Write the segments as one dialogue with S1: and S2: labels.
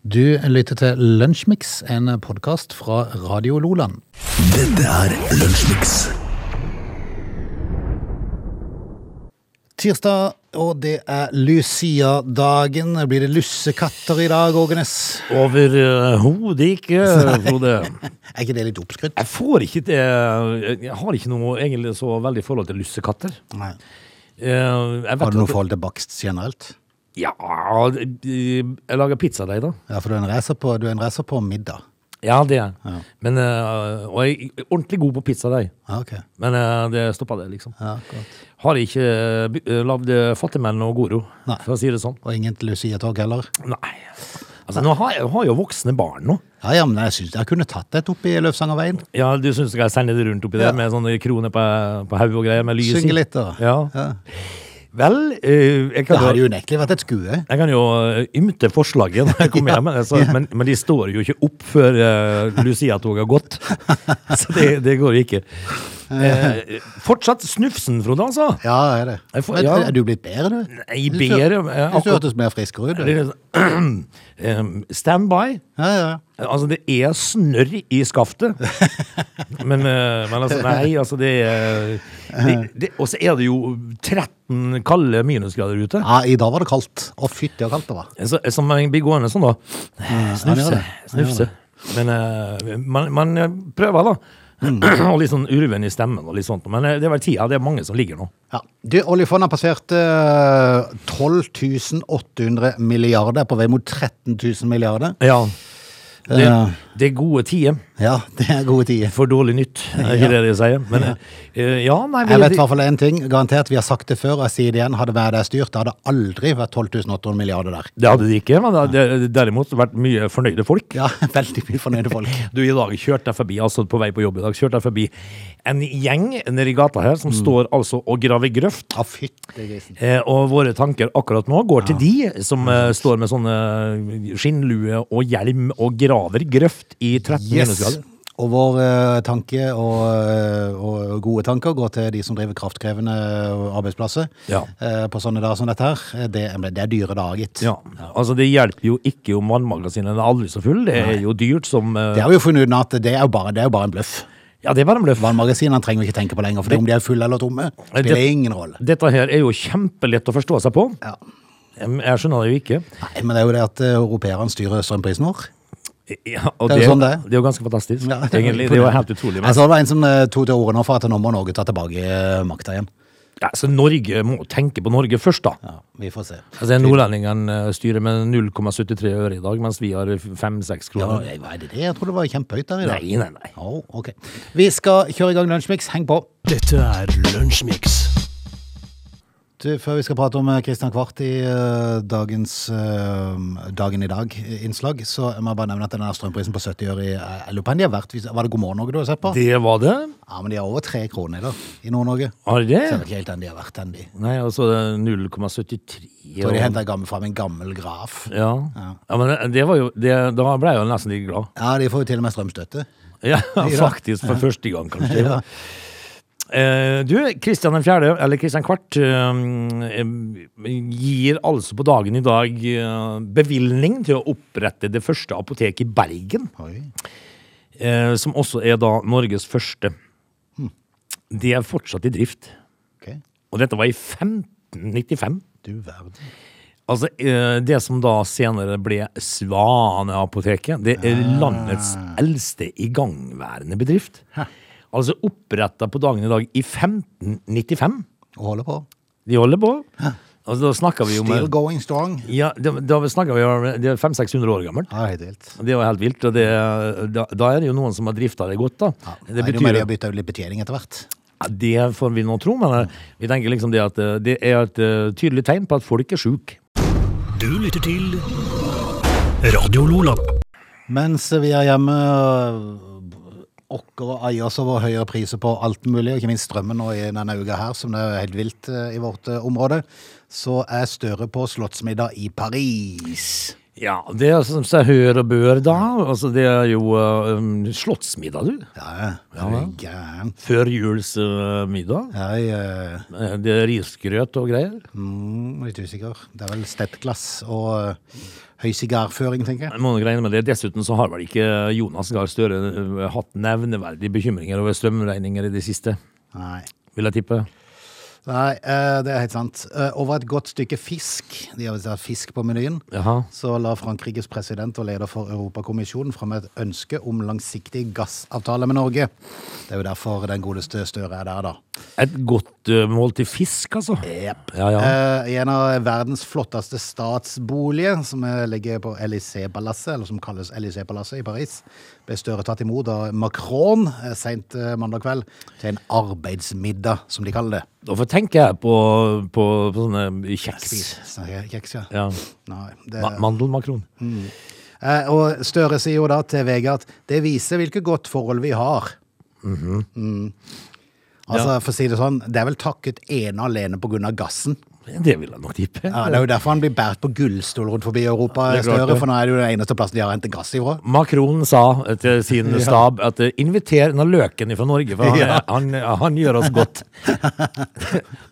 S1: Du lytter til Lunsjmix, en podkast fra Radio Loland.
S2: Dette er Lunsjmix.
S1: Tirsdag, og det er Lucia-dagen. Blir det lussekatter i dag, Ågenes? eh,
S3: Overhodet ikke, Frode.
S1: Er ikke det litt oppskrytt?
S3: Jeg får ikke det Jeg har ikke noe egentlig så veldig forhold til lussekatter.
S1: Nei.
S3: Eh, Jeg vet
S1: Har du noe
S3: at-
S1: forhold til bakst generelt?
S3: Ja Jeg lager pizzadeig, da.
S1: Ja, for du er en racer på, du er en racer på middag.
S3: Ja, det er jeg. Men, eh, Og jeg er ordentlig god på pizzadeig.
S1: Ja, ok.
S3: Men eh, det stoppa det, liksom.
S1: Ja, godt.
S3: Har ikke eh, lagd fattigmenn og Goro,
S1: Nei.
S3: for å si det sånn.
S1: Og ingen Lucia-tog heller?
S3: Nei. Altså, nå har jeg, har jo voksne barn nå.
S1: Ja, ja, men jeg synes jeg kunne tatt et oppi Løvsangerveien.
S3: Ja, du syns jeg sender det rundt oppi
S1: Ja.
S3: der med sånne kroner på, på hodet og greier med lys i.
S1: Synge litt, da.
S3: Ja.
S1: Ja.
S3: Vel, eh, jeg
S1: Det
S3: kan
S1: hadde
S3: jo
S1: jo unektelig vært et skue.
S3: jeg kan jo eh, ymte forslaget når jeg kommer
S1: Ja,
S3: hjem, men altså, men, men de står jo ikke opp før eh, Lucia-toget har gått. Så det, det går ikke. Eh, fortsatt snufsen, Frode, altså.
S1: Ja, er det.
S3: Jeg får-
S1: Men,
S3: ja.
S1: er du blitt bedre, du?
S3: Nei, bedre, eh,
S1: Du
S3: akkurat-
S1: hørtes mer friskere ut,
S3: Det
S1: du.
S3: er sånn, eh, Standby.
S1: Ja, ja.
S3: Altså, det er snørr i skaftet. Men, eh, men altså, nei, altså det er det- det- Og så er det jo 13 kalde minusgrader ute.
S1: ja, i dag var det kaldt. Å, fytti og kaldt det var.
S3: Så, som jeg blir gående sånn, da.
S1: ja, det gjør
S3: Snufse.
S1: det.
S3: snufse. Men eh, man, man eh, prøver, da.
S1: Mm.
S3: og litt sånn urven i stemmen og litt sånt. Men eh, det er vel tida. Det er mange som ligger nå.
S1: Ja. Du, oljefondet har passert eh, 12 800 milliarder, er på vei mot 13 000 milliarder.
S3: Ja. Det,
S1: Ja.
S3: det er gode tider
S1: Ja, det er gode tider.
S3: for dårlig nytt, er ikke det de sier? Men eh, ja, nei vi-
S1: Jeg vet i hvert fall én ting. Garantert, vi har sagt det før, og jeg sier det igjen. Hadde været styrt, det hadde aldri vært 12 800 milliarder der.
S3: Det hadde de ikke, men det hadde derimot vært mye fornøyde folk.
S1: Ja, veldig mye fornøyde folk.
S3: Du, i dag kjørte jeg forbi, altså på vei på jobb i dag, kjørte jeg forbi en gjeng nede i gata her som
S1: Mm.
S3: står altså og graver grøft.
S1: Ja, fytti grisen.
S3: Eh, og våre tanker akkurat nå går til de som eh, står med sånne eh, skinnlue og hjelm og graver grøft i 13
S1: Yes.
S3: minusgrader.
S1: Og vår eh, tanke og, eh, og gode tanker går til de som driver kraftkrevende arbeidsplasser
S3: Ja.
S1: eh, på sånne dager som dette her. Eh, Det, det er dyre dager, gitt.
S3: Ja, altså Det hjelper jo ikke om vannmagasinene er aldri så full. Det er jo dyrt som eh,
S1: Det har vi jo funnet ut nå at det er jo bare, det er jo bare en bløff.
S3: Ja, det er bare en bløff.
S1: Vannmagasinene trenger vi ikke tenke på lenger, for om de er fulle eller tomme, spiller
S3: Det-
S1: ingen rolle.
S3: Dette her er jo kjempelett å forstå seg på.
S1: Ja.
S3: Em, Jeg skjønner det jo ikke.
S1: Nei, men det er jo det at eh, europeerne styrer strømprisen vår.
S3: Ja, og
S1: Det er jo sånn det er.
S3: Det er jo ganske fantastisk.
S1: Ja, det er jo
S3: egentlig, det er jo helt utrolig. Men,
S1: Jeg så det var en som eh, tok til orde nå for at nå må Norge ta tilbake eh, makta igjen.
S3: ja, så Norge må tenke på Norge først, da.
S1: Ja, vi får se.
S3: Altså, Nordlendingene eh, styrer med 0,73 øre i dag, mens vi har 5-6
S1: Ja,
S3: kroner.
S1: nei, hva er det det? Jeg tror det var kjempehøyt der i dag.
S3: Nei, nei, nei.
S1: Å, ok. Vi skal kjøre i gang Lunsjmix. Heng på.
S2: Dette er Lunsjmix.
S1: Du, før vi skal prate om eh, Christian Kvart i eh, dagens eh, Dagen i dag-innslag, så må jeg bare nevne at den der strømprisen på 70 øre i eh, jeg lurer på om de har vært, hvis- Var det God morgen Norge du har sett på?
S3: Det var det.
S1: Ja, men de har over tre kroner i dag i Nord-Norge.
S3: Har det?
S1: Så jeg vet ikke helt den de har vært den de.
S3: Nei, altså eh, 0,73
S1: Så de
S3: og-
S1: henter gammel, fram en gammel graf.
S3: ja. ja, men eh, det- det var jo det, Da ble jeg jo nesten litt glad.
S1: Ja, de får jo til og med strømstøtte.
S3: Ja,
S1: Ja.
S3: faktisk. For første gang, kanskje.
S1: Ja.
S3: Eh, du, Kristian 4., eller Kristian Kvart, eh, gir altså på dagen i dag eh, bevilgning til å opprette det første apoteket i Bergen,
S1: Oi.
S3: eh, som også er da Norges første.
S1: Hm.
S3: Det er fortsatt i drift,
S1: Ok.
S3: og dette var i 1595.
S1: Du verden.
S3: Altså, eh, det som da senere ble Svaneapoteket, det er landets eldste igangværende bedrift. Altså oppretta på dagen i dag i 1595.
S1: Og holder på.
S3: De holder på. Altså, da snakker vi om
S1: Still going strong.
S3: ja, da, da snakker vi om Det er 500-600 år gammelt.
S1: Ja, helt vilt.
S3: Det er jo helt vilt. Og det, da, da er det jo noen som har drifta det godt, da.
S1: Det
S3: Det
S1: betyr... Nei,
S3: betyr
S1: de har bytta ut litt betjening etter hvert.
S3: ja, Det får vi nå tro, men eh, vi tenker liksom det at eh, det er et eh, tydelig tegn på at folk er sjuke.
S2: Du lytter til Radio Lola.
S1: Mens vi er hjemme øh, åkker og eier oss over høyere priser på alt mulig, og ikke minst strømmen nå i denne uka her, som det er helt vilt eh, øh, i vårt øh, område, så er Støre på slottsmiddag i Paris.
S3: Ja, det er som seg hør og bør, da. Altså, det er jo eh, um, slottsmiddag, du.
S1: Ja, ja. Er du gæren?
S3: Førjulsmiddag.
S1: Ja, jeg er eh,
S3: Eh, Det er risgrøt og greier.
S1: mm, litt usikker. Det er vel stettglass og eh, høy sigarføring, tenker jeg.
S3: Jeg må nok regne med det. Dessuten så har vel ikke Jonas Gahr Støre eh, hatt nevneverdige bekymringer over strømregninger i det siste,
S1: Nei.
S3: vil jeg tippe.
S1: Nei, eh, det er helt sant. Eh, Over et godt stykke fisk, de har visst hatt fisk på menyen,
S3: Jaha.
S1: så la Frankrikes president og leder for Europakommisjonen fram et ønske om langsiktig gassavtale med Norge. Det er jo derfor den godeste Støre er der, da.
S3: Et godt eh, måltid fisk, altså. Ja, ja.
S1: Eh, I en av verdens flotteste statsboliger, som eh, ligger på Élysée-palasset, eller som kalles Élysée-palasset i Paris, ble Støre tatt imot av Macron eh, sent eh, mandag kveld til en arbeidsmiddag, som de kaller det.
S3: Hvorfor tenker jeg på, på, på sånne kjeks?
S1: Snakker jeg Kjeks, ja.
S3: Ja.
S1: Nei, det...
S3: Ma mandelmakron.
S1: Eh, Og Støre sier jo da til VG at det viser hvilke godt forhold vi har. Mm. Altså,
S3: Ja.
S1: for å si det sånn, det er vel takket ene og alene på grunn av gassen.
S3: Det vil jeg nok tippe.
S1: Ja, det er jo derfor han blir bært på gullstol rundt forbi Europa,
S3: Det er klart
S1: Støre,
S3: det.
S1: for nå er det jo den eneste plassen de har hentet gass ifra.
S3: Macron sa eh, til sin stab at eh, inviter denne løken fra Norge, for han,
S1: Ja.
S3: han, han gjør oss godt.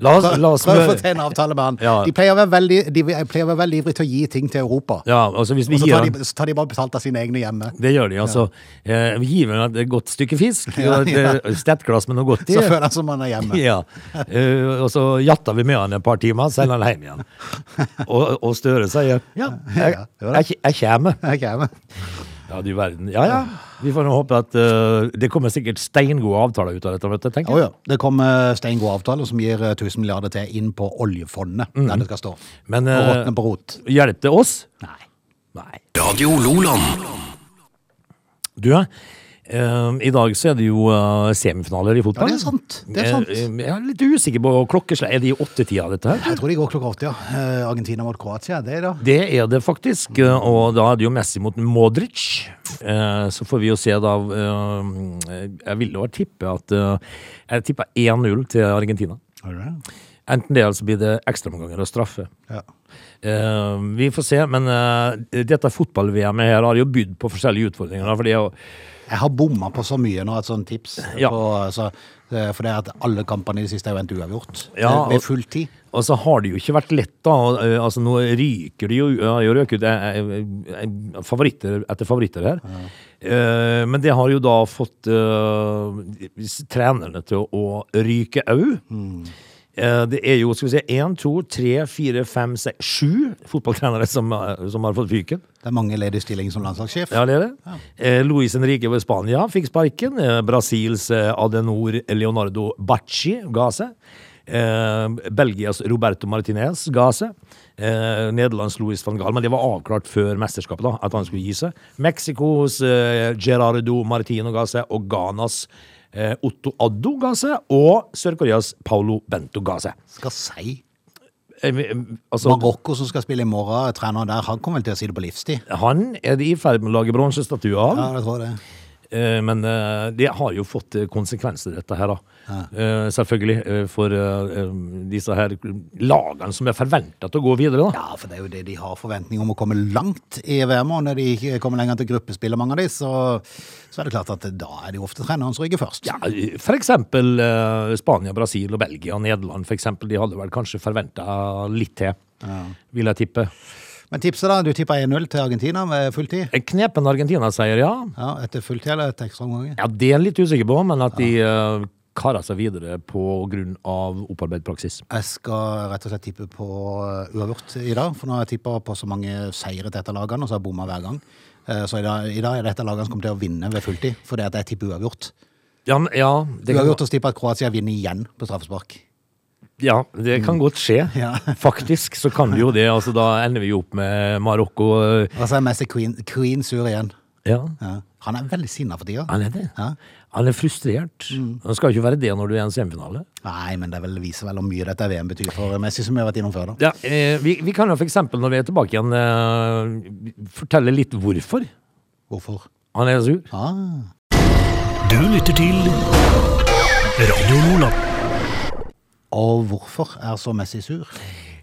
S3: la oss, la oss
S1: Prøv å få
S3: smøre
S1: til en avtale med han.
S3: Ja.
S1: De pleier å være veldig, de pleier å være veldig ivrige til å gi ting til Europa.
S3: ja, altså hvis vi
S1: Og så
S3: gir
S1: tar
S3: han,
S1: de, så tar de bare betalt av sine egne hjemme.
S3: Det gjør de, altså. Eh, vi gir han et godt stykke fisk, og et eh, stettglass med noe godt i.
S1: Så føler han som han er hjemme.
S3: Ja. Eh, og så jatter vi med han et par timer, så sender han hjem igjen. Og, og Støre sier ja, jeg,
S1: Ja, det var det.
S3: jeg, jeg kommer.
S1: Ok, men-
S3: Ja, du verden. Ja, ja. Vi får nå håpe at eh, det kommer sikkert steingode avtaler ut av dette, vet du, tenker jeg.
S1: Å ja. Det kommer steingod avtale som gir eh, 1000 milliarder til inn på oljefondet,
S3: Mhm.
S1: der det skal stå.
S3: Men,
S1: og
S3: eh,
S1: råtne på rot.
S3: Hjelp det oss?
S1: Nei.
S3: Nei.
S2: Radio Loland.
S3: Du, eh, i dag så er det jo eh, semifinaler i
S1: Ja,
S3: fotball.
S1: det er sant. Det er sant.
S3: Eh, eh, Jeg er litt usikker på klokkeslag. Er det i åttetida, dette her?
S1: Jeg tror de går klokka åtte, ja. Eh, Argentina mot Kroatia, det da.
S3: Det er det faktisk, eh, og da er det jo Messi mot Modric. Eh, Så får vi jo se da eh, Jeg ville jo tippe at eh, Jeg tippa 1-0 til Argentina. Enten det, eller så blir det ekstraomganger og straffe.
S1: Ja.
S3: Eh, vi får se, men eh, dette fotball-VM-et her har jo bydd på forskjellige utfordringer. da, For det er jo
S1: Jeg har bomma på så mye nå, et sånt tips.
S3: Ja.
S1: På, altså, eh, for det er at alle kampene i det siste er jo endt uavgjort.
S3: Ja,
S1: Ved
S3: og-
S1: full tid.
S3: Og så har det jo ikke vært lett, da. Og, eh, Altså, nå ryker det jo har jo røket ut eh, eh, eh, favoritter etter favoritter her. Eh, Men det har jo da fått eh, s- trenerne til å, å ryke au. Eh, Det er jo skal vi se, én, to, tre, fire, fem, seks, sju fotballtrenere som, eh, som har fått fyken.
S1: Det er mange ledige stillinger som landslagssjef.
S3: Ja, det er det. Eh, Luis Henrique over Spania fikk sparken. Eh, Brasils eh, Adenor Leonardo Bacci ga seg. Eh, Belgias Roberto Martinez ga seg. Eh, Nederlands Louis van Gaal, men det var avklart før mesterskapet da, at han skulle gi seg. Mexicos eh, Gerardo Martino ga seg, og Ghanas eh, Otto Addo ga seg, og Sør-Koreas Paulo Bento ga seg.
S1: Skal si.
S3: Eh, eh, altså,
S1: Marokko som skal spille i morgen, treneren der, han kommer vel til å si det på livstid.
S3: han er de i ferd med å lage bronsestatue av.
S1: Ja, det tror jeg det.
S3: Eh, Men eh, det har jo fått eh, konsekvenser, dette her, da. Eh, Selvfølgelig. eh, For eh, eh, disse her lagene som er forventa til å gå videre, da.
S1: Ja, for det er jo det de har forventning om å komme langt i VM, og når de ikke kommer lenger til gruppespill og mange av de, så, så er det klart at da er det jo ofte treneren som rygger først.
S3: Ja, eh, for eksempel eh, Spania, Brasil og Belgia og Nederland, for eksempel. De hadde vel kanskje forventa litt til, vil jeg tippe.
S1: Men tipset da, du tipper 1-0 til Argentina med fulltid.
S3: En knepen Argentina-seier, ja.
S1: Ja, etter fulltid eller etter ekstraomganger.
S3: Ja, Det er jeg litt usikker på, men at de eh, karer seg videre på grunn av opparbeidet praksis.
S1: Jeg skal rett og slett tippe på eh, uavgjort i dag, for nå har jeg tippet på så mange seire til dette lagene, og så har jeg bommet hver gang. Eh, Så i dag, i dag er det dette lagene som kommer til å vinne ved fulltid, fordi at jeg tipper uavgjort.
S3: Ja, men- ja, det kan,
S1: Uavgjort å tippe at Kroatia vinner igjen på straffespark.
S3: Ja, det kan godt skje.
S1: Mm. Ja.
S3: Faktisk så kan det jo det. Altså, da ender vi jo opp med Marokko. øh,
S1: Og så er Messi Queen, Queen sur igjen.
S3: Ja,
S1: Ja. Han er veldig sinnet for tida.
S3: han er det.
S1: Ja.
S3: Han er frustrert. Han skal jo ikke være det når du er i en semifinale.
S1: Nei, men det vel viser vel hvor mye dette VM betyr for Messi, som vi har vært innom før. da.
S3: Ja, eh, vi, vi kan jo for eksempel, når vi er tilbake igjen, eh, fortelle litt hvorfor
S1: Hvorfor?
S3: han er sur.
S1: Ah.
S2: Du lytter til Radio Loland.
S1: Og hvorfor er så Messi sur?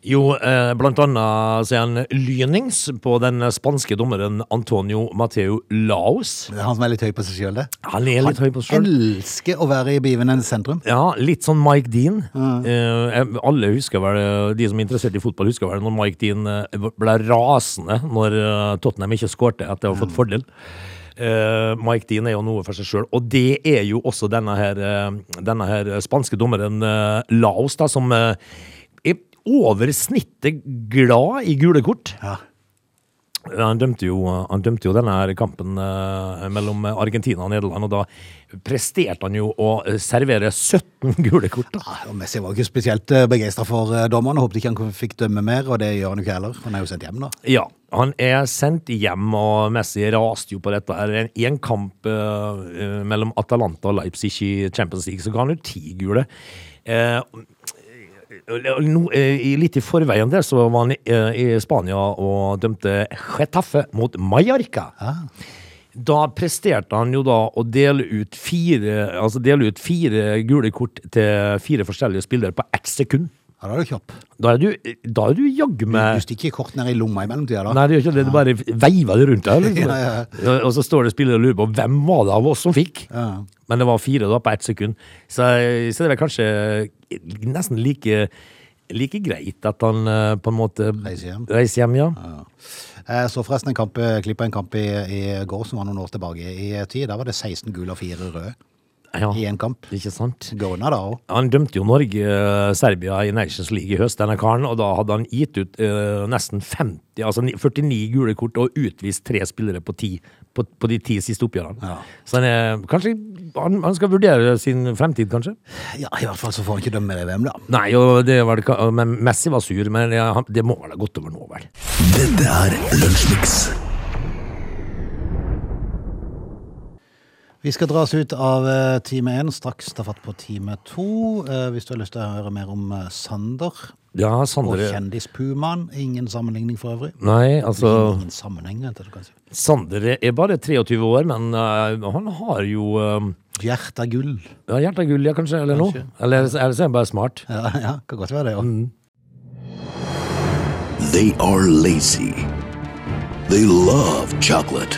S3: Jo, eh, blant annet så er han lynings på den spanske dommeren Antonio Mateo Laos.
S1: Det er han som er litt høy på seg sjøl, det.
S3: Han er litt høy på seg selv.
S1: Elsker å være i begivenhetens sentrum.
S3: Ja, litt sånn Mike Dean. Eh, jeg- alle husker vel, eh, De som er interessert i fotball, husker vel når Mike Dean eh, ble rasende når eh, Tottenham ikke skårte etter å ha fått fordel. Eh, Mike Dean er jo noe for seg sjøl, og det er jo også denne her, eh, denne her spanske dommeren eh, Laos, da, som eh, er over snittet glad i gule kort.
S1: Ja.
S3: Han dømte jo, han dømte jo denne her kampen eh, mellom Argentina og Nederland, og da presterte han jo å eh, servere 17 gule kort. da.
S1: Ah, og Messi var jo ikke spesielt begeistra for eh, dommeren. Håpet ikke han fikk dømme mer, og det gjør han jo ikke heller. Han er jo sendt hjem, da.
S3: Ja, han er sendt hjem, og Messi raste jo på dette. her. En- I en kamp eh, eh, mellom Atalanta og Leipzig i Champions League så ga han jo ti gule. Eh, og nå, eh, i- litt i forveien der så var han eh, i Spania og dømte Getafe mot Mallorca.
S1: Ah.
S3: Da presterte han jo da å dele ut fire, altså dele ut fire gule kort til fire forskjellige spillere på ett sekund.
S1: Ja, da er du kjapp.
S3: Da er du, eh, da er du jaggu
S1: Du
S3: meg
S1: stikker kort ned i lomma i mellomtida, da.
S3: Nei, det gjør ikke det. Det bare veiver det rundt deg. Liksom.
S1: Ja, ja,
S3: Og så står det spillere og lurer på hvem var det av oss som fikk?
S1: Ja.
S3: Men det var fire da på ett sekund. Så, så det er vel kanskje nesten like, like greit at han eh, på en måte
S1: Reiser hjem.
S3: Reiser hjem, ja.
S1: Jeg så forresten en kamp, eh, klipp av en kamp i, i går som var noen år tilbake i eh, tid. Der var det 16 gule og 4 røde
S3: ja.
S1: i én kamp.
S3: Ikke sant?
S1: Går unna da òg.
S3: Han dømte jo Norge-Serbia i Nations League i høst, denne karen, og da hadde han gitt ut eh, nesten 50, altså ni- 49 gule kort og utvist tre spillere på, ti, på, på de ti siste oppgjørene.
S1: Ja.
S3: Så han, er, kanskje, han, han skal vurdere sin fremtid, kanskje?
S1: Ja, I hvert fall så får han ikke dømme mer i VM, da.
S3: Nei, og det var det, ka- men Messi var sur, men det, han- det må vel ha gått over nå, vel?
S2: Dette er Lunsjmix.
S1: Vi skal dra oss ut av eh, time én, straks ta fatt på time to. Eh, Hvis du har lyst til å høre mer om eh, Sander
S3: Ja,
S1: og
S3: Sondre
S1: kjendispumaen. Ingen sammenligning for øvrig.
S3: Nei, altså
S1: Ingen sammenheng, vet du kanskje.
S3: Sondre er bare 23 år, men eh, han har jo eh,
S1: Hjertet er gull.
S3: ja, hjertet av gull, ja, kanskje, eller noe? Eller, eller så er han bare smart.
S1: Ja, ja, kan godt være det, ja.
S2: Mm. They are lazy. They love chocolate.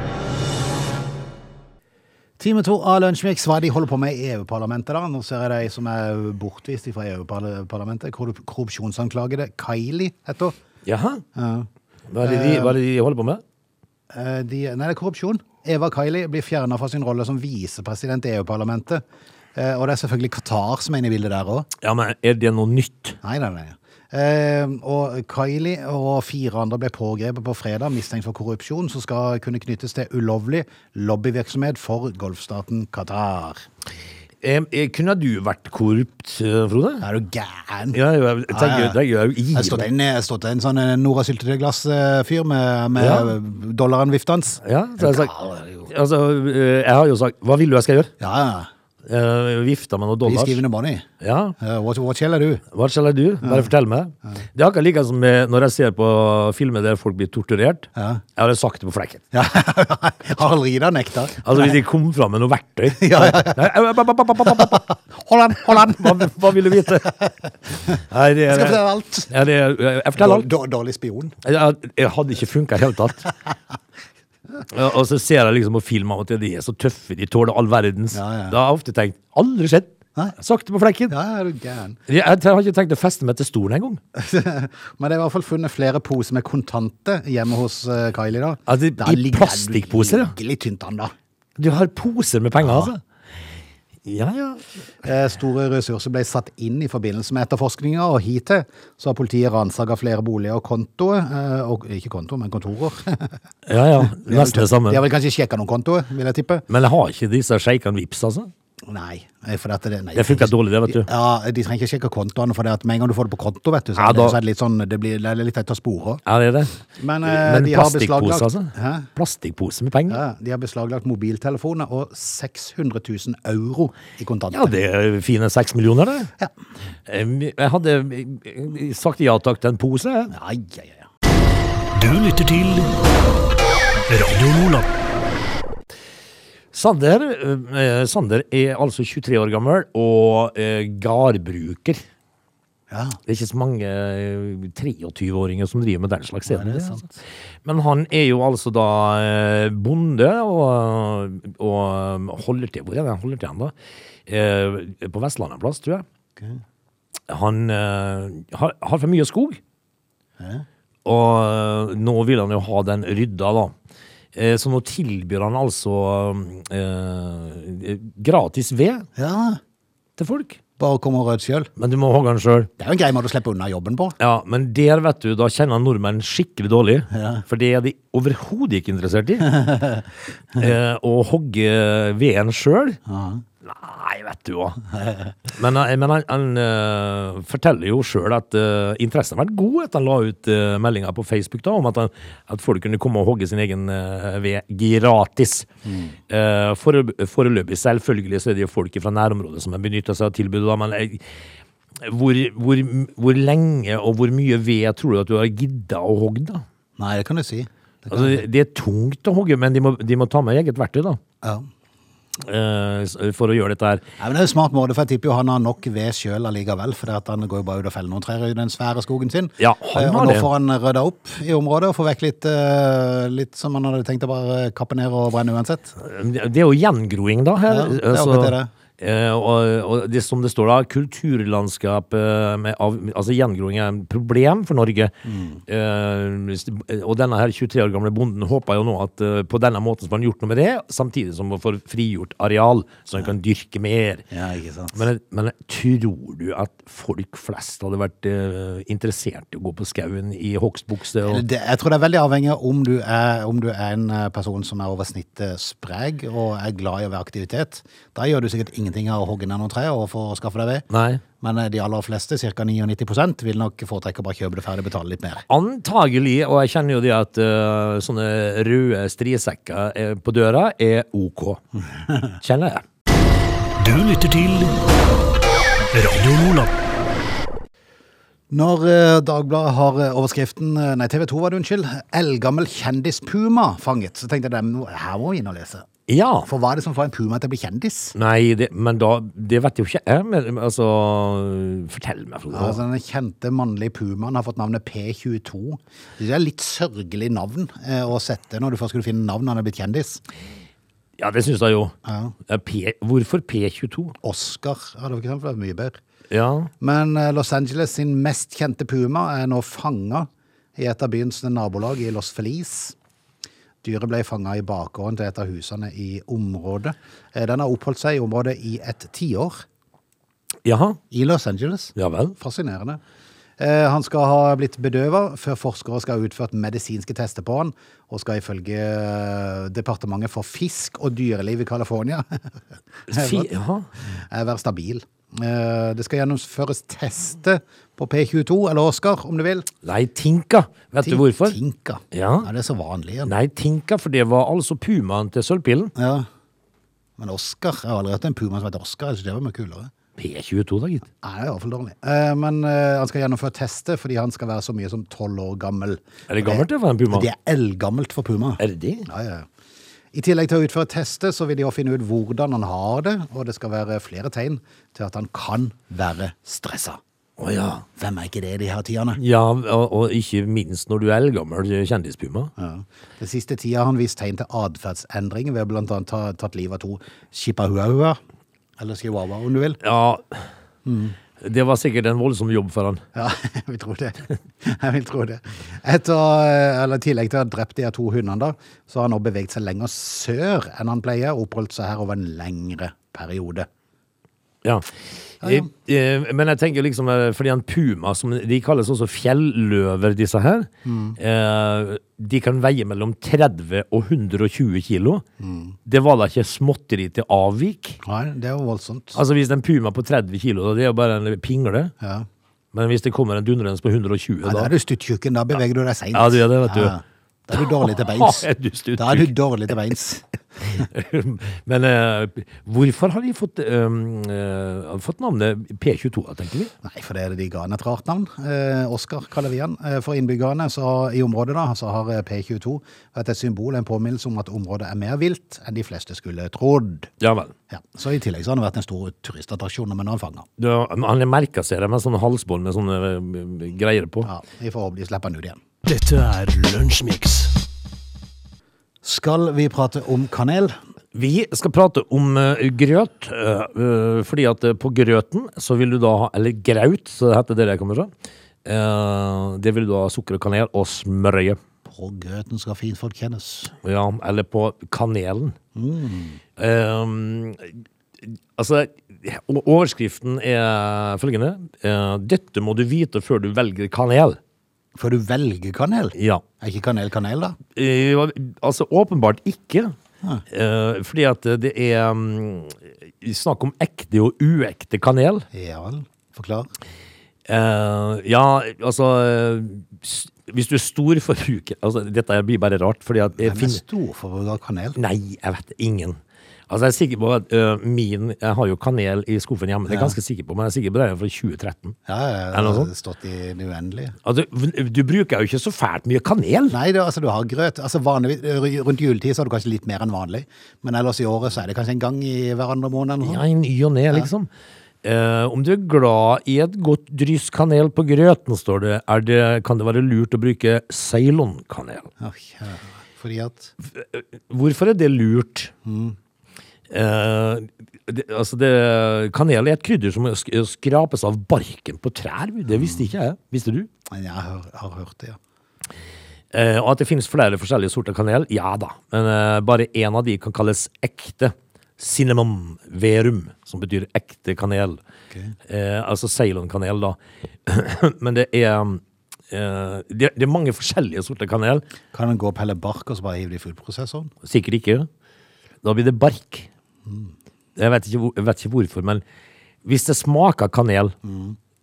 S1: Time to av Lunsjmix. Hva er det de holder på med i EU-parlamentet, da? Nå ser jeg de som er bortvist fra EU-parlamentet. Korrup- Korrupsjonsanklagede Kylie heter hun.
S3: Jaha?
S1: Ja.
S3: Hva er det de, hva er det de holder på med?
S1: Eh, De, nei, det er korrupsjon. Eva Kylie blir fjerna fra sin rolle som visepresident i EU-parlamentet. Eh, Og det er selvfølgelig Qatar som er inne i bildet der òg.
S3: Ja, men Er det noe nytt?
S1: Nei, nei, nei. Eh, og Kylie og fire andre ble pågrepet på fredag, mistenkt for korrupsjon, som skal kunne knyttes til ulovlig lobbyvirksomhet for golfstaten Qatar.
S3: Eh, eh, kunne du vært korrupt, eh, Frode?
S1: Er du gæren?
S3: Ja, jo, jeg
S1: Ah, Ja,
S3: tenker,
S1: ja.
S3: det gjør jeg jo
S1: Jeg
S3: i
S1: stod en, jeg stod en sånn eh, Nora Syltetøy-glass-fyr med, med
S3: Ja.
S1: dollaren viftans.
S3: Ja, så jeg, har sagt, altså, eh, jeg har jo sagt Hva vil du jeg skal gjøre?
S1: Ja, ja.
S3: Eh, vifta med noen
S1: He's
S3: dollars.
S1: giving the money.
S3: Ja,
S1: Eh, what, what shall I do?
S3: Hva skal jeg gjøre? Bare fortell meg. Det er akkurat like som eh, når jeg ser på filmer der folk blir torturert.
S1: Ja.
S3: Jeg hadde sagt det på flekken.
S1: Ja, Harald Rida nekta.
S3: Altså Hvis de kom fram med noe verktøy. Nei, eh, ba, ba, ba, ba, ba, ba, ba.
S1: Hold an, hold an!
S3: Hva, hva vil du vite? Nei, det,
S1: Jeg skal
S3: er-
S1: fortelle alt.
S3: Ja, det, er- jeg forteller alt.
S1: Dår- Dårlig spion.
S3: Jeg, jeg hadde ikke funka i det hele tatt. Ja, Og så ser jeg liksom på film av og til de er så tøffe, de tåler all verdens.
S1: Ja, ja.
S3: Da har jeg ofte tenkt aldri skjedd.
S1: Nei.
S3: Sakte på flekken.
S1: Ja, er du gæren.
S3: Jeg, jeg har ikke tenkt å feste meg til stolen engang.
S1: Men det er i hvert fall funnet flere poser med kontanter hjemme hos eh, Kylie. da.
S3: Ja, det-
S1: Da
S3: i
S1: ligger-
S3: plastikkposer, ja.
S1: Ligger litt tynt an, da.
S3: Du har poser med penger, altså. Ja, ja.
S1: Eh, Store ressurser ble satt inn i forbindelse med etterforskninga, og hittil så har politiet ransaga flere boliger og kontoer. eh, Og, ikke kontoer, men kontorer.
S3: Ja, ja. Nesten det
S1: De
S3: samme.
S1: har vel kanskje sjekka noen kontoer, vil jeg tippe.
S3: Men jeg har ikke disse sjeikene vips, altså.
S1: Nei. eh, For dette, det, nei,
S3: Det funker dårlig, det, vet du.
S1: Ja, De trenger ikke sjekke kontoene, for det at med en gang du får det på konto, vet du, så,
S3: Ja,
S1: er det-
S3: da-
S1: så er det litt sånn Det blir det er litt tett å spore.
S3: Ja, det er det.
S1: Men, eh, de har
S3: plastikkpose,
S1: beslaglagt
S3: altså?
S1: Hæ?
S3: Plastikkpose med penger?
S1: Ja, de har beslaglagt mobiltelefoner og 600 000 euro i kontanter.
S3: Ja, det er fine seks millioner, det. Eh, Jeg hadde eh, sagt ja takk til en pose. jeg.
S1: Ai, ai, ai.
S4: Du lytter til Radio Nordland.
S3: Sander, eh, Sander er altså 23 år gammel og eh, gardbruker.
S1: Ja.
S3: Det er ikke så mange eh, 23-åringer som driver med den slags
S1: Nei, det er
S3: scene.
S1: sant.
S3: Altså. Men han er jo altså da eh, bonde og, og eh, holder til Hvor er det han holder til han da? Eh, På Vestlandet en plass, tror jeg. Han eh, har, har for mye skog. Og eh, nå vil han jo ha den rydda, da. Eh, Så nå tilbyr han altså eh, gratis ved
S1: ja.
S3: til folk.
S1: Bare kom og rød sjøl.
S3: Men du må hogge den sjøl.
S1: Det er jo en grei måte å slippe unna jobben på.
S3: Ja, men der, vet du, da kjenner nordmenn skikkelig dårlig. For det er de overhodet ikke interessert i. eh, å hogge veden sjøl. Nei, vet du hva. Men, han- men han, han eh, forteller jo sjøl at eh, interessen har vært god etter han la ut uh, meldinga på Facebook da, om at, han, at folk kunne komme og hogge sin egen eh, ved gratis. Eh, foreløp- Foreløpig, selvfølgelig, så er det jo folk fra nærområdet som har benytta seg av tilbudet, da, men eh, jeg, hvor, hvor, hvor lenge og hvor mye ved tror du at du har gidda å hogge, da?
S1: Nei, det kan du si. Det kan,
S3: Altså, det- det er tungt å hogge, men de må, de må ta med eget verktøy, da.
S1: ja.
S3: eh, s- For å gjøre dette her.
S1: Nei, men det er jo en smart måte, for jeg tipper jo han har nok ved sjøl allikevel. For det at han går jo bare ut og feller noen trær i den svære skogen sin.
S3: Ja, han
S1: Eh,
S3: har
S1: og nå
S3: det.
S1: får han rydda opp i området og får vekk litt, eh, litt som han hadde tenkt å bare kappe ned og brenne uansett.
S3: Det er jo gjengroing, da. Her.
S1: Ja, det er
S3: Altså,
S1: akkurat det det er.
S3: eh, og, og det som det står da, kulturlandskap eh, med, av, Altså gjengroing er et problem for Norge.
S1: Mm.
S3: Eh, s- og denne her 23 år gamle bonden håper jo nå at eh, på denne måten så får han gjort noe med det, samtidig som han får frigjort areal, så han kan dyrke mer.
S1: Ja, ikke sant.
S3: Men, men tror du at folk flest hadde vært eh, interessert i å gå på skauen i hogstbukse? Og...
S1: Det, jeg tror det er veldig avhengig av om du er, om du er en eh, person som er over snittet sprek og er glad i å være aktivitet. Da gjør du sikkert ingenting av å hogge ned noen tre og få skaffe deg ved.
S3: Nei.
S1: Men eh, de aller fleste, ca. 99 vil nok foretrekke å bare kjøpe det ferdig og betale litt mer.
S3: Antagelig, og jeg kjenner jo det at eh, sånne røde strisekker eh, på døra er ok. Kjenner jeg.
S4: Du lytter til Radio Nordland.
S1: Når eh, Dagbladet har eh, overskriften eh, Nei, TV 2 var det, unnskyld. 'Eldgammel kjendis puma fanget', så tenkte jeg "Dem, her må vi inn og lese.
S3: Ja.
S1: For hva er det som får en puma til å bli kjendis?
S3: Nei, det, men da Det vet jo ikke jeg. Men, altså, fortell meg, Frode.
S1: Altså, den kjente mannlige pumaen har fått navnet P22. Det er litt sørgelig navn eh, å sette når du først skulle finne navn når han er blitt kjendis.
S3: Ja, det syns jeg jo.
S1: Ja.
S3: Eh, P, hvorfor P22?
S1: Oscar hadde for eksempel vært mye bedre.
S3: Ja.
S1: Men eh, Los Angeles sin mest kjente puma er nå fanga i et av byens nabolag i Los Feliz. Dyret ble fanga i bakgården til et av husene i området. Eh, Den har oppholdt seg i området i et tiår
S3: Jaha.
S1: i Los Angeles.
S3: Ja vel.
S1: Fascinerende. Eh, Han skal ha blitt bedøva før forskere skal ha utført medisinske tester på han, og skal ifølge eh, Departementet for fisk og dyreliv i California
S3: Fi, jaha.
S1: eh, være stabil. Eh, Det skal gjennomføres tester på P22, eller Oscar, om du vil.
S3: Nei, Tinka. Vet du hvorfor?
S1: Tinka.
S3: Ja.
S1: Er det er så vanlig? igjen.
S3: Nei, Tinka, for det var altså pumaen til Sølvpilen.
S1: Ja. Men Oscar Jeg har aldri hatt en puma som heter Oscar. Jeg synes det var mye kulere.
S3: P22, da, gitt.
S1: Nei, det er i hvert fall dårlig. Eh, Men eh, han skal gjennomføre tester fordi han skal være så mye som tolv år gammel. Eh,
S3: Er det gammelt, det, for en puma?
S1: Det er eldgammelt for puma.
S3: Er det det?
S1: Ja, ja. ja. I tillegg til å utføre tester, så vil de også finne ut hvordan han har det, og det skal være flere tegn til at han kan være stressa.
S3: Å ja.
S1: Hvem er ikke det i de her tidene?
S3: Ja, og, og ikke minst når du er eldgammel kjendispuma.
S1: Ja. Den siste tida har han vist tegn til atferdsendring ved å blant annet ta, tatt livet av to chipahuahua, eller chihuahua om du vil.
S3: Ja. Mm. Det var sikkert en voldsom jobb for han.
S1: Ja, jeg vil tro det. Jeg vil tro det. Etter, å- eller I tillegg til å ha drept de her to hundene, da, så har han nå beveget seg lenger sør enn han pleier, og oppholdt seg her over en lengre periode.
S3: Ja. Eh, eh, Men jeg tenker liksom eh, Fordi en puma, som de kalles også fjelløver, disse her eh, De kan veie mellom 30 og 120 kilo. Det var da ikke småtteri til avvik.
S1: Nei, det er jo voldsomt.
S3: Altså Hvis en puma på 30 kilo, da, det er jo bare en pingle.
S1: Ja.
S3: Men hvis det kommer en dundrende på 120,
S1: Ja, da er du
S3: da
S1: stuttjukken. Da beveger du deg seint.
S3: Ja, du gjør det, vet du.
S1: Da er du dårlig til beins.
S3: Da er du stuttjukk.
S1: Da er du dårlig til beins.
S3: Men eh, hvorfor har de fått, eh, eh, fått navnet P22, da, tenker vi?
S1: Nei, for det er det de ga han et rart navn. Eh, Oscar kaller vi han. Eh, for innbyggerne så, i området da, så har eh, P22 vært et symbol, en påminnelse om at området er mer vilt enn de fleste skulle trodd.
S3: Ja vel.
S1: Ja. Så i tillegg så har han vært en stor turistattraksjon når man har fanget.
S3: Du, han merka seg det med sånn halsbånd med sånne eh, greier på.
S1: Ja, vi får håpe de slipper han ut igjen.
S4: Dette er Lunsjmix.
S1: Skal vi prate om kanel?
S3: Vi skal prate om eh, grøt, eh, eh, fordi at eh, på grøten så vil du da ha Eller graut, så det heter det jeg kommer fra. Eh, det vil du da ha sukker og kanel og smørje.
S1: På grøten skal finfolk kjennes.
S3: Ja, eller på kanelen. Eh, altså, o- overskriften er følgende. eh, Dette må du vite før du velger kanel.
S1: Før du velger kanel?
S3: Ja.
S1: Er ikke kanel kanel, da?
S3: Eh, altså åpenbart ikke. Eh, fordi at det er mm, snakk om ekte og uekte kanel.
S1: Ja vel. Forklar.
S3: Eh, ja, altså eh, s- Hvis du er stor forbruker altså, Dette her blir bare rart. Fordi at jeg
S1: Hvem er
S3: finner,
S1: storforbruker av kanel?
S3: nei, jeg vet ingen. Altså Jeg er sikker på at eh, min Jeg har jo kanel i skuffen hjemme, det er jeg ganske sikker på men jeg er sikker på det er fra 2013.
S1: Ja, jeg
S3: Er det noe
S1: har
S3: sånt?
S1: stått i det uendelige.
S3: Altså, v- du bruker jo ikke så fælt mye kanel.
S1: Nei, det, altså, du har grøt. Altså, vanligvis, r- rundt juletid så har du kanskje litt mer enn vanlig, men ellers i året så er det kanskje en gang i hver andre måned. Eller noe
S3: Ja,
S1: sånt.
S3: i ny og ne, liksom. Eh, om du er glad i et godt dryss kanel på grøten, står det, er det kan det være lurt å bruke Ceylon-kanel.
S1: Å, kjære. Fordi at
S3: Øh, Hvorfor er det lurt? Eh, det, altså det, kanel er et krydder som sk skrapes av barken på trær. Det visste ikke jeg. Visste du?
S1: Men Jeg har, har hørt det, ja.
S3: Eh, og at det finnes flere forskjellige sorter kanel, ja da. Men eh, bare én av de kan kalles ekte. Cinnamon verum, som betyr ekte kanel. Eh, altså Ceylon-kanel, da. Men det er eh, det, det er mange forskjellige sorter kanel.
S1: Kan en gå og pelle bark og så bare hive det i fullprosessoren?
S3: Sikkert ikke. Da blir det bark. Jeg, vet ikke, hvor- jeg vet ikke hvorfor, men hvis det smaker kanel,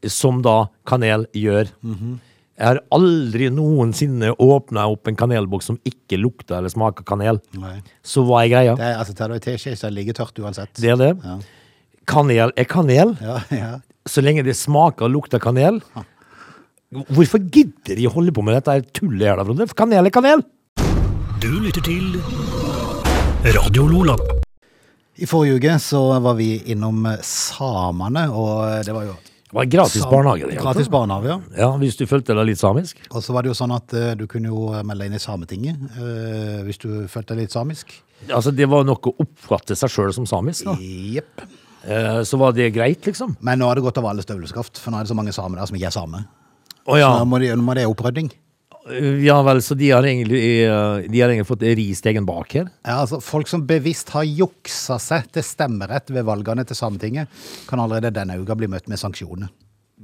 S3: som da kanel gjør Jeg har aldri noensinne åpna opp en kanelboks som ikke lukter eller smaker kanel.
S1: Nei.
S3: Så hva er greia?
S1: Det er, altså, tar du en teskje, så ligger det tørt uansett.
S3: Det er det.
S1: Ja.
S3: Kanel er kanel,
S1: Ja, ja.
S3: så lenge det smaker og lukter kanel. Hvorfor gidder de å holde på med dette her tullet her, da, Frode? For Kanel er kanel!
S4: Du lytter til Radio Lola.
S1: I forrige uke så var vi innom eh, samene, og eh, det var jo
S3: Det var gratis
S1: sam-
S3: barnehage. det, altså.
S1: Gratis barnehage, ja.
S3: Ja, Hvis du følte deg litt samisk.
S1: Og så var det jo sånn at eh, du kunne jo melde deg inn i Sametinget eh, hvis du følte deg litt samisk.
S3: Altså, Det var nok å oppfatte seg sjøl som samisk. da.
S1: Jepp.
S3: Eh, så var det greit, liksom.
S1: Men nå har det gått over alle støvleskaft, for nå er det så mange samer der som ikke er same.
S3: Å ja. Eh,
S1: Nå må det, nå må det opprydning.
S3: ja vel, så de har egentlig, eh, de har egentlig fått rist egen bak her?
S1: Ja, altså, folk som bevisst har juksa seg til stemmerett ved valgene til Sametinget, kan allerede denne uka bli møtt med sanksjoner.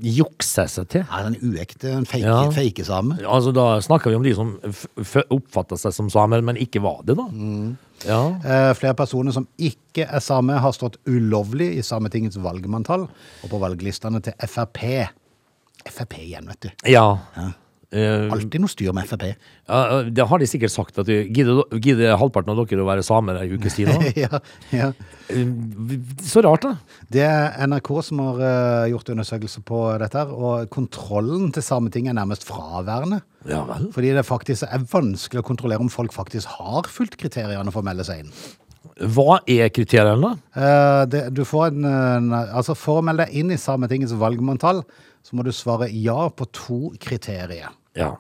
S3: Jukse seg til?
S1: Er det en uekte, en fake,
S3: Ja.
S1: fake same?
S3: Altså, Da snakker vi om de som f- f- oppfatta seg som samer, men ikke var det, da. Ja.
S1: Eh, flere personer som ikke er same, har stått ulovlig i Sametingets valgmanntall og på valglistene til Frp. Frp igjen, vet du.
S3: ja. Eh,
S1: Alltid noe styr med Frp.
S3: ja, det har de sikkert sagt. at du- Gidder gidder halvparten av dere å være samer ei ukes tid nå?
S1: ja, ja.
S3: Eh, Så rart, da.
S1: Det er NRK som har eh, gjort undersøkelse på dette, her, og kontrollen til Sametinget er nærmest fraværende.
S3: Ja vel.
S1: Fordi det faktisk er vanskelig å kontrollere om folk faktisk har fulgt kriteriene for å melde seg inn.
S3: Hva er kriteriene, da?
S1: Eh, det, du får en, eh, altså for å melde deg inn i Sametingets valgmanntall, så må du svare ja på to kriterier.
S3: Ja.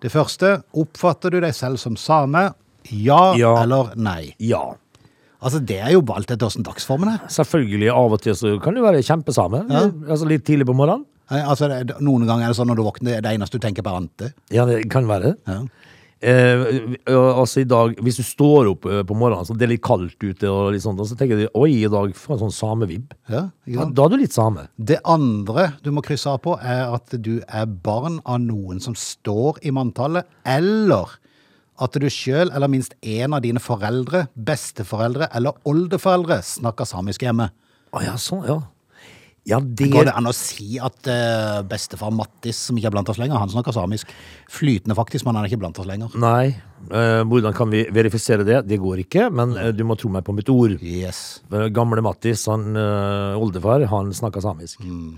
S1: Det første, oppfatter du deg selv som same? Ja,
S3: Ja.
S1: eller nei?
S3: ja.
S1: Altså, det er jo valgt etter hvordan dagsformen er.
S3: Selvfølgelig, av og til så kan du være kjempesame. Altså litt tidlig på morgenen.
S1: Eh, Altså, det, noen ganger er det sånn når du våkner, det eneste du tenker på er ante.
S3: Ja, det kan være.
S1: Ja.
S3: Eh, ø- altså i dag, Hvis du står opp ø, på morgenen, så det er litt kaldt ute, og litt sånt, og så tenker du oi, i dag får jeg sånn samevibb.
S1: Ja, ikke
S3: Ja,
S1: sant?
S3: da er du litt same.
S1: Det andre du må krysse av på, er at du er barn av noen som står i manntallet, eller at du sjøl eller minst én av dine foreldre, besteforeldre eller oldeforeldre snakker samisk hjemme.
S3: Å ja, sånn, ja. Ja, det
S1: Går det an å si at eh, bestefar Mattis, som ikke er blant oss lenger, han snakker samisk? Flytende, faktisk, men han er ikke blant oss lenger.
S3: Nei. Eh, hvordan kan vi verifisere det? Det går ikke, men eh, du må tro meg på mitt ord.
S1: Yes.
S3: Eh, Gamle Mattis, han eh, oldefar, han snakka samisk. Men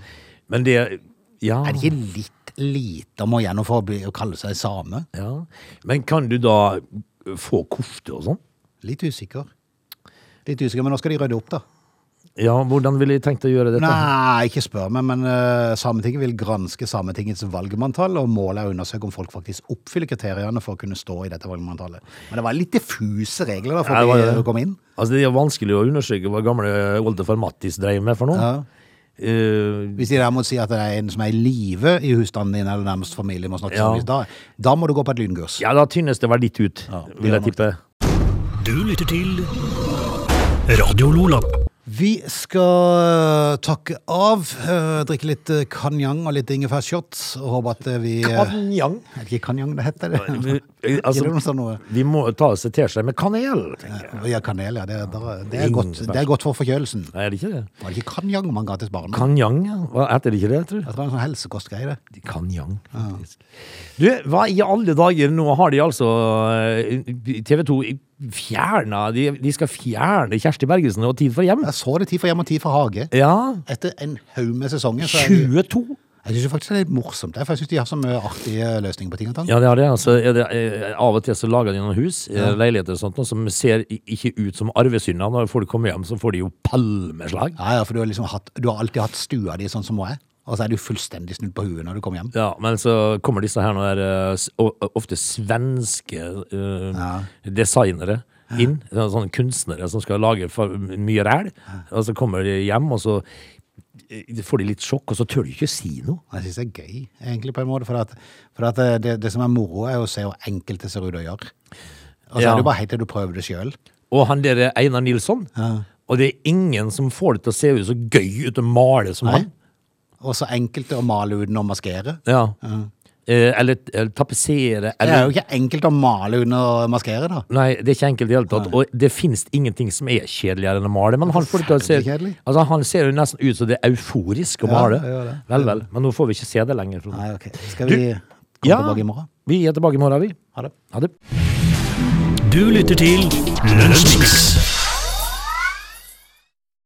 S3: Mm. det Ja.
S1: Er det ikke litt lite om å gjennom for å, bli, å kalle seg same?
S3: ja. Men kan du da få kofte og sånn?
S1: Litt usikker. Litt usikker, men nå skal de rydde opp, da.
S3: Ja, hvordan ville jeg tenkt å gjøre dette?
S1: Nei, ikke spør meg, men eh, Sametinget vil granske Sametingets valgmanntall, og målet er å undersøke om folk faktisk oppfyller kriteriene for å kunne stå i dette valgmanntallet. Men det var litt diffuse regler da, for
S3: Ja, det var
S1: at de
S3: det.
S1: eh, kom inn.
S3: Altså, det er vanskelig å undersøke hva gamle oldefar Mattis dreiv med for noe.
S1: Ja.
S3: Eh,
S1: Hvis de derimot sier at det er en som er i live i husstanden din, eller nærmest familie, må snakke
S3: Ja.
S1: samisk, da, da må du gå på et lynkurs.
S3: ja, da tynnes det vel litt ut, vil jeg tippe.
S4: Du lytter til Radio Lola.
S1: Vi skal eh, takke av, eh, drikke litt eh, kanjang og litt ingefærshot, og håpe at eh, vi eh,
S3: Kanjang.
S1: Er det ikke kanjang det heter?
S3: Eh,
S1: Gir det noe
S3: Altså,
S1: sånn noe?
S3: vi må ta oss en teskje med kanel, tenker jeg.
S1: Ja, kanel, ja. Det, der- det, er godt, det er godt for forkjølelsen.
S3: Nei, er det ikke det?
S1: Var det ikke kanjang man ga til barn?
S3: Kanyang, ja. Hva heter det ikke det, tror
S1: Jeg
S3: du?
S1: tror det er en sånn helsekostgreie, det.
S3: Kanyang, faktisk. Du, hva i alle dager, nå har de altså eh, TV 2 fjerna de, de skal fjerne Kjersti Bergesen og Tid for hjem.
S1: Jeg så det Tid for hjem og Tid for hage.
S3: Ja.
S1: Etter en haug med sesonger så er de,
S3: 22?
S1: Jeg syns faktisk det er litt morsomt. jeg, For jeg syns de har så mye artige eh, løsninger på ting og tang.
S3: Ja, det har det. Altså, er det eh, av og til så lager de noen hus, eh, leiligheter og sånt, noe som ser i- ikke ut som arvesynder. Når folk kommer hjem, så får de jo palmeslag.
S1: Ja, ja, for du har, liksom hatt, du har alltid hatt stua di sånn som hun er, og så er du fullstendig snudd på huet når du kommer hjem.
S3: Ja, men så kommer disse her nå der, eh, s- o- ofte svenske eh, designere inn, sånne sånne kunstnere som skal lage for mye ræl, og så kommer de hjem, og så eh, får de litt sjokk, og så tør de ikke si noe.
S1: Jeg syns det er gøy, egentlig, på en måte. For, at, for at eh, det, det som er moro, er å se hvor enkelt det ser ut å gjøre. Og så
S3: Ja.
S1: er det bare helt til du prøver det sjøl.
S3: Og han der er Einar Nilsson, og det er ingen som får det til å se ut så gøy ut og male som
S1: Nei.
S3: han.
S1: Og så enkelt å male uten å maskere.
S3: Ja. Eh, eller, eller tapetsere,
S1: Det er jo
S3: eller...
S1: ikke enkelt å male uten å maskere, da.
S3: Nei, det er ikke enkelt i det hele tatt. Og det finnes ingenting som er kjedeligere enn å male. Men han, får det til å se,
S1: Forferdelig kjedelig.
S3: altså, han ser jo nesten ut som det er euforisk å
S1: Ja,
S3: male.
S1: det gjør det.
S3: Vel, vel. Men nå får vi ikke se det lenger. Frode.
S1: Nei, ok. Skal vi
S3: Du-
S1: komme tilbake i morgen?
S3: Vi er tilbake i morgen, vi.
S1: Ha det.
S3: Ha det.
S4: Du lytter til Lunsjmix.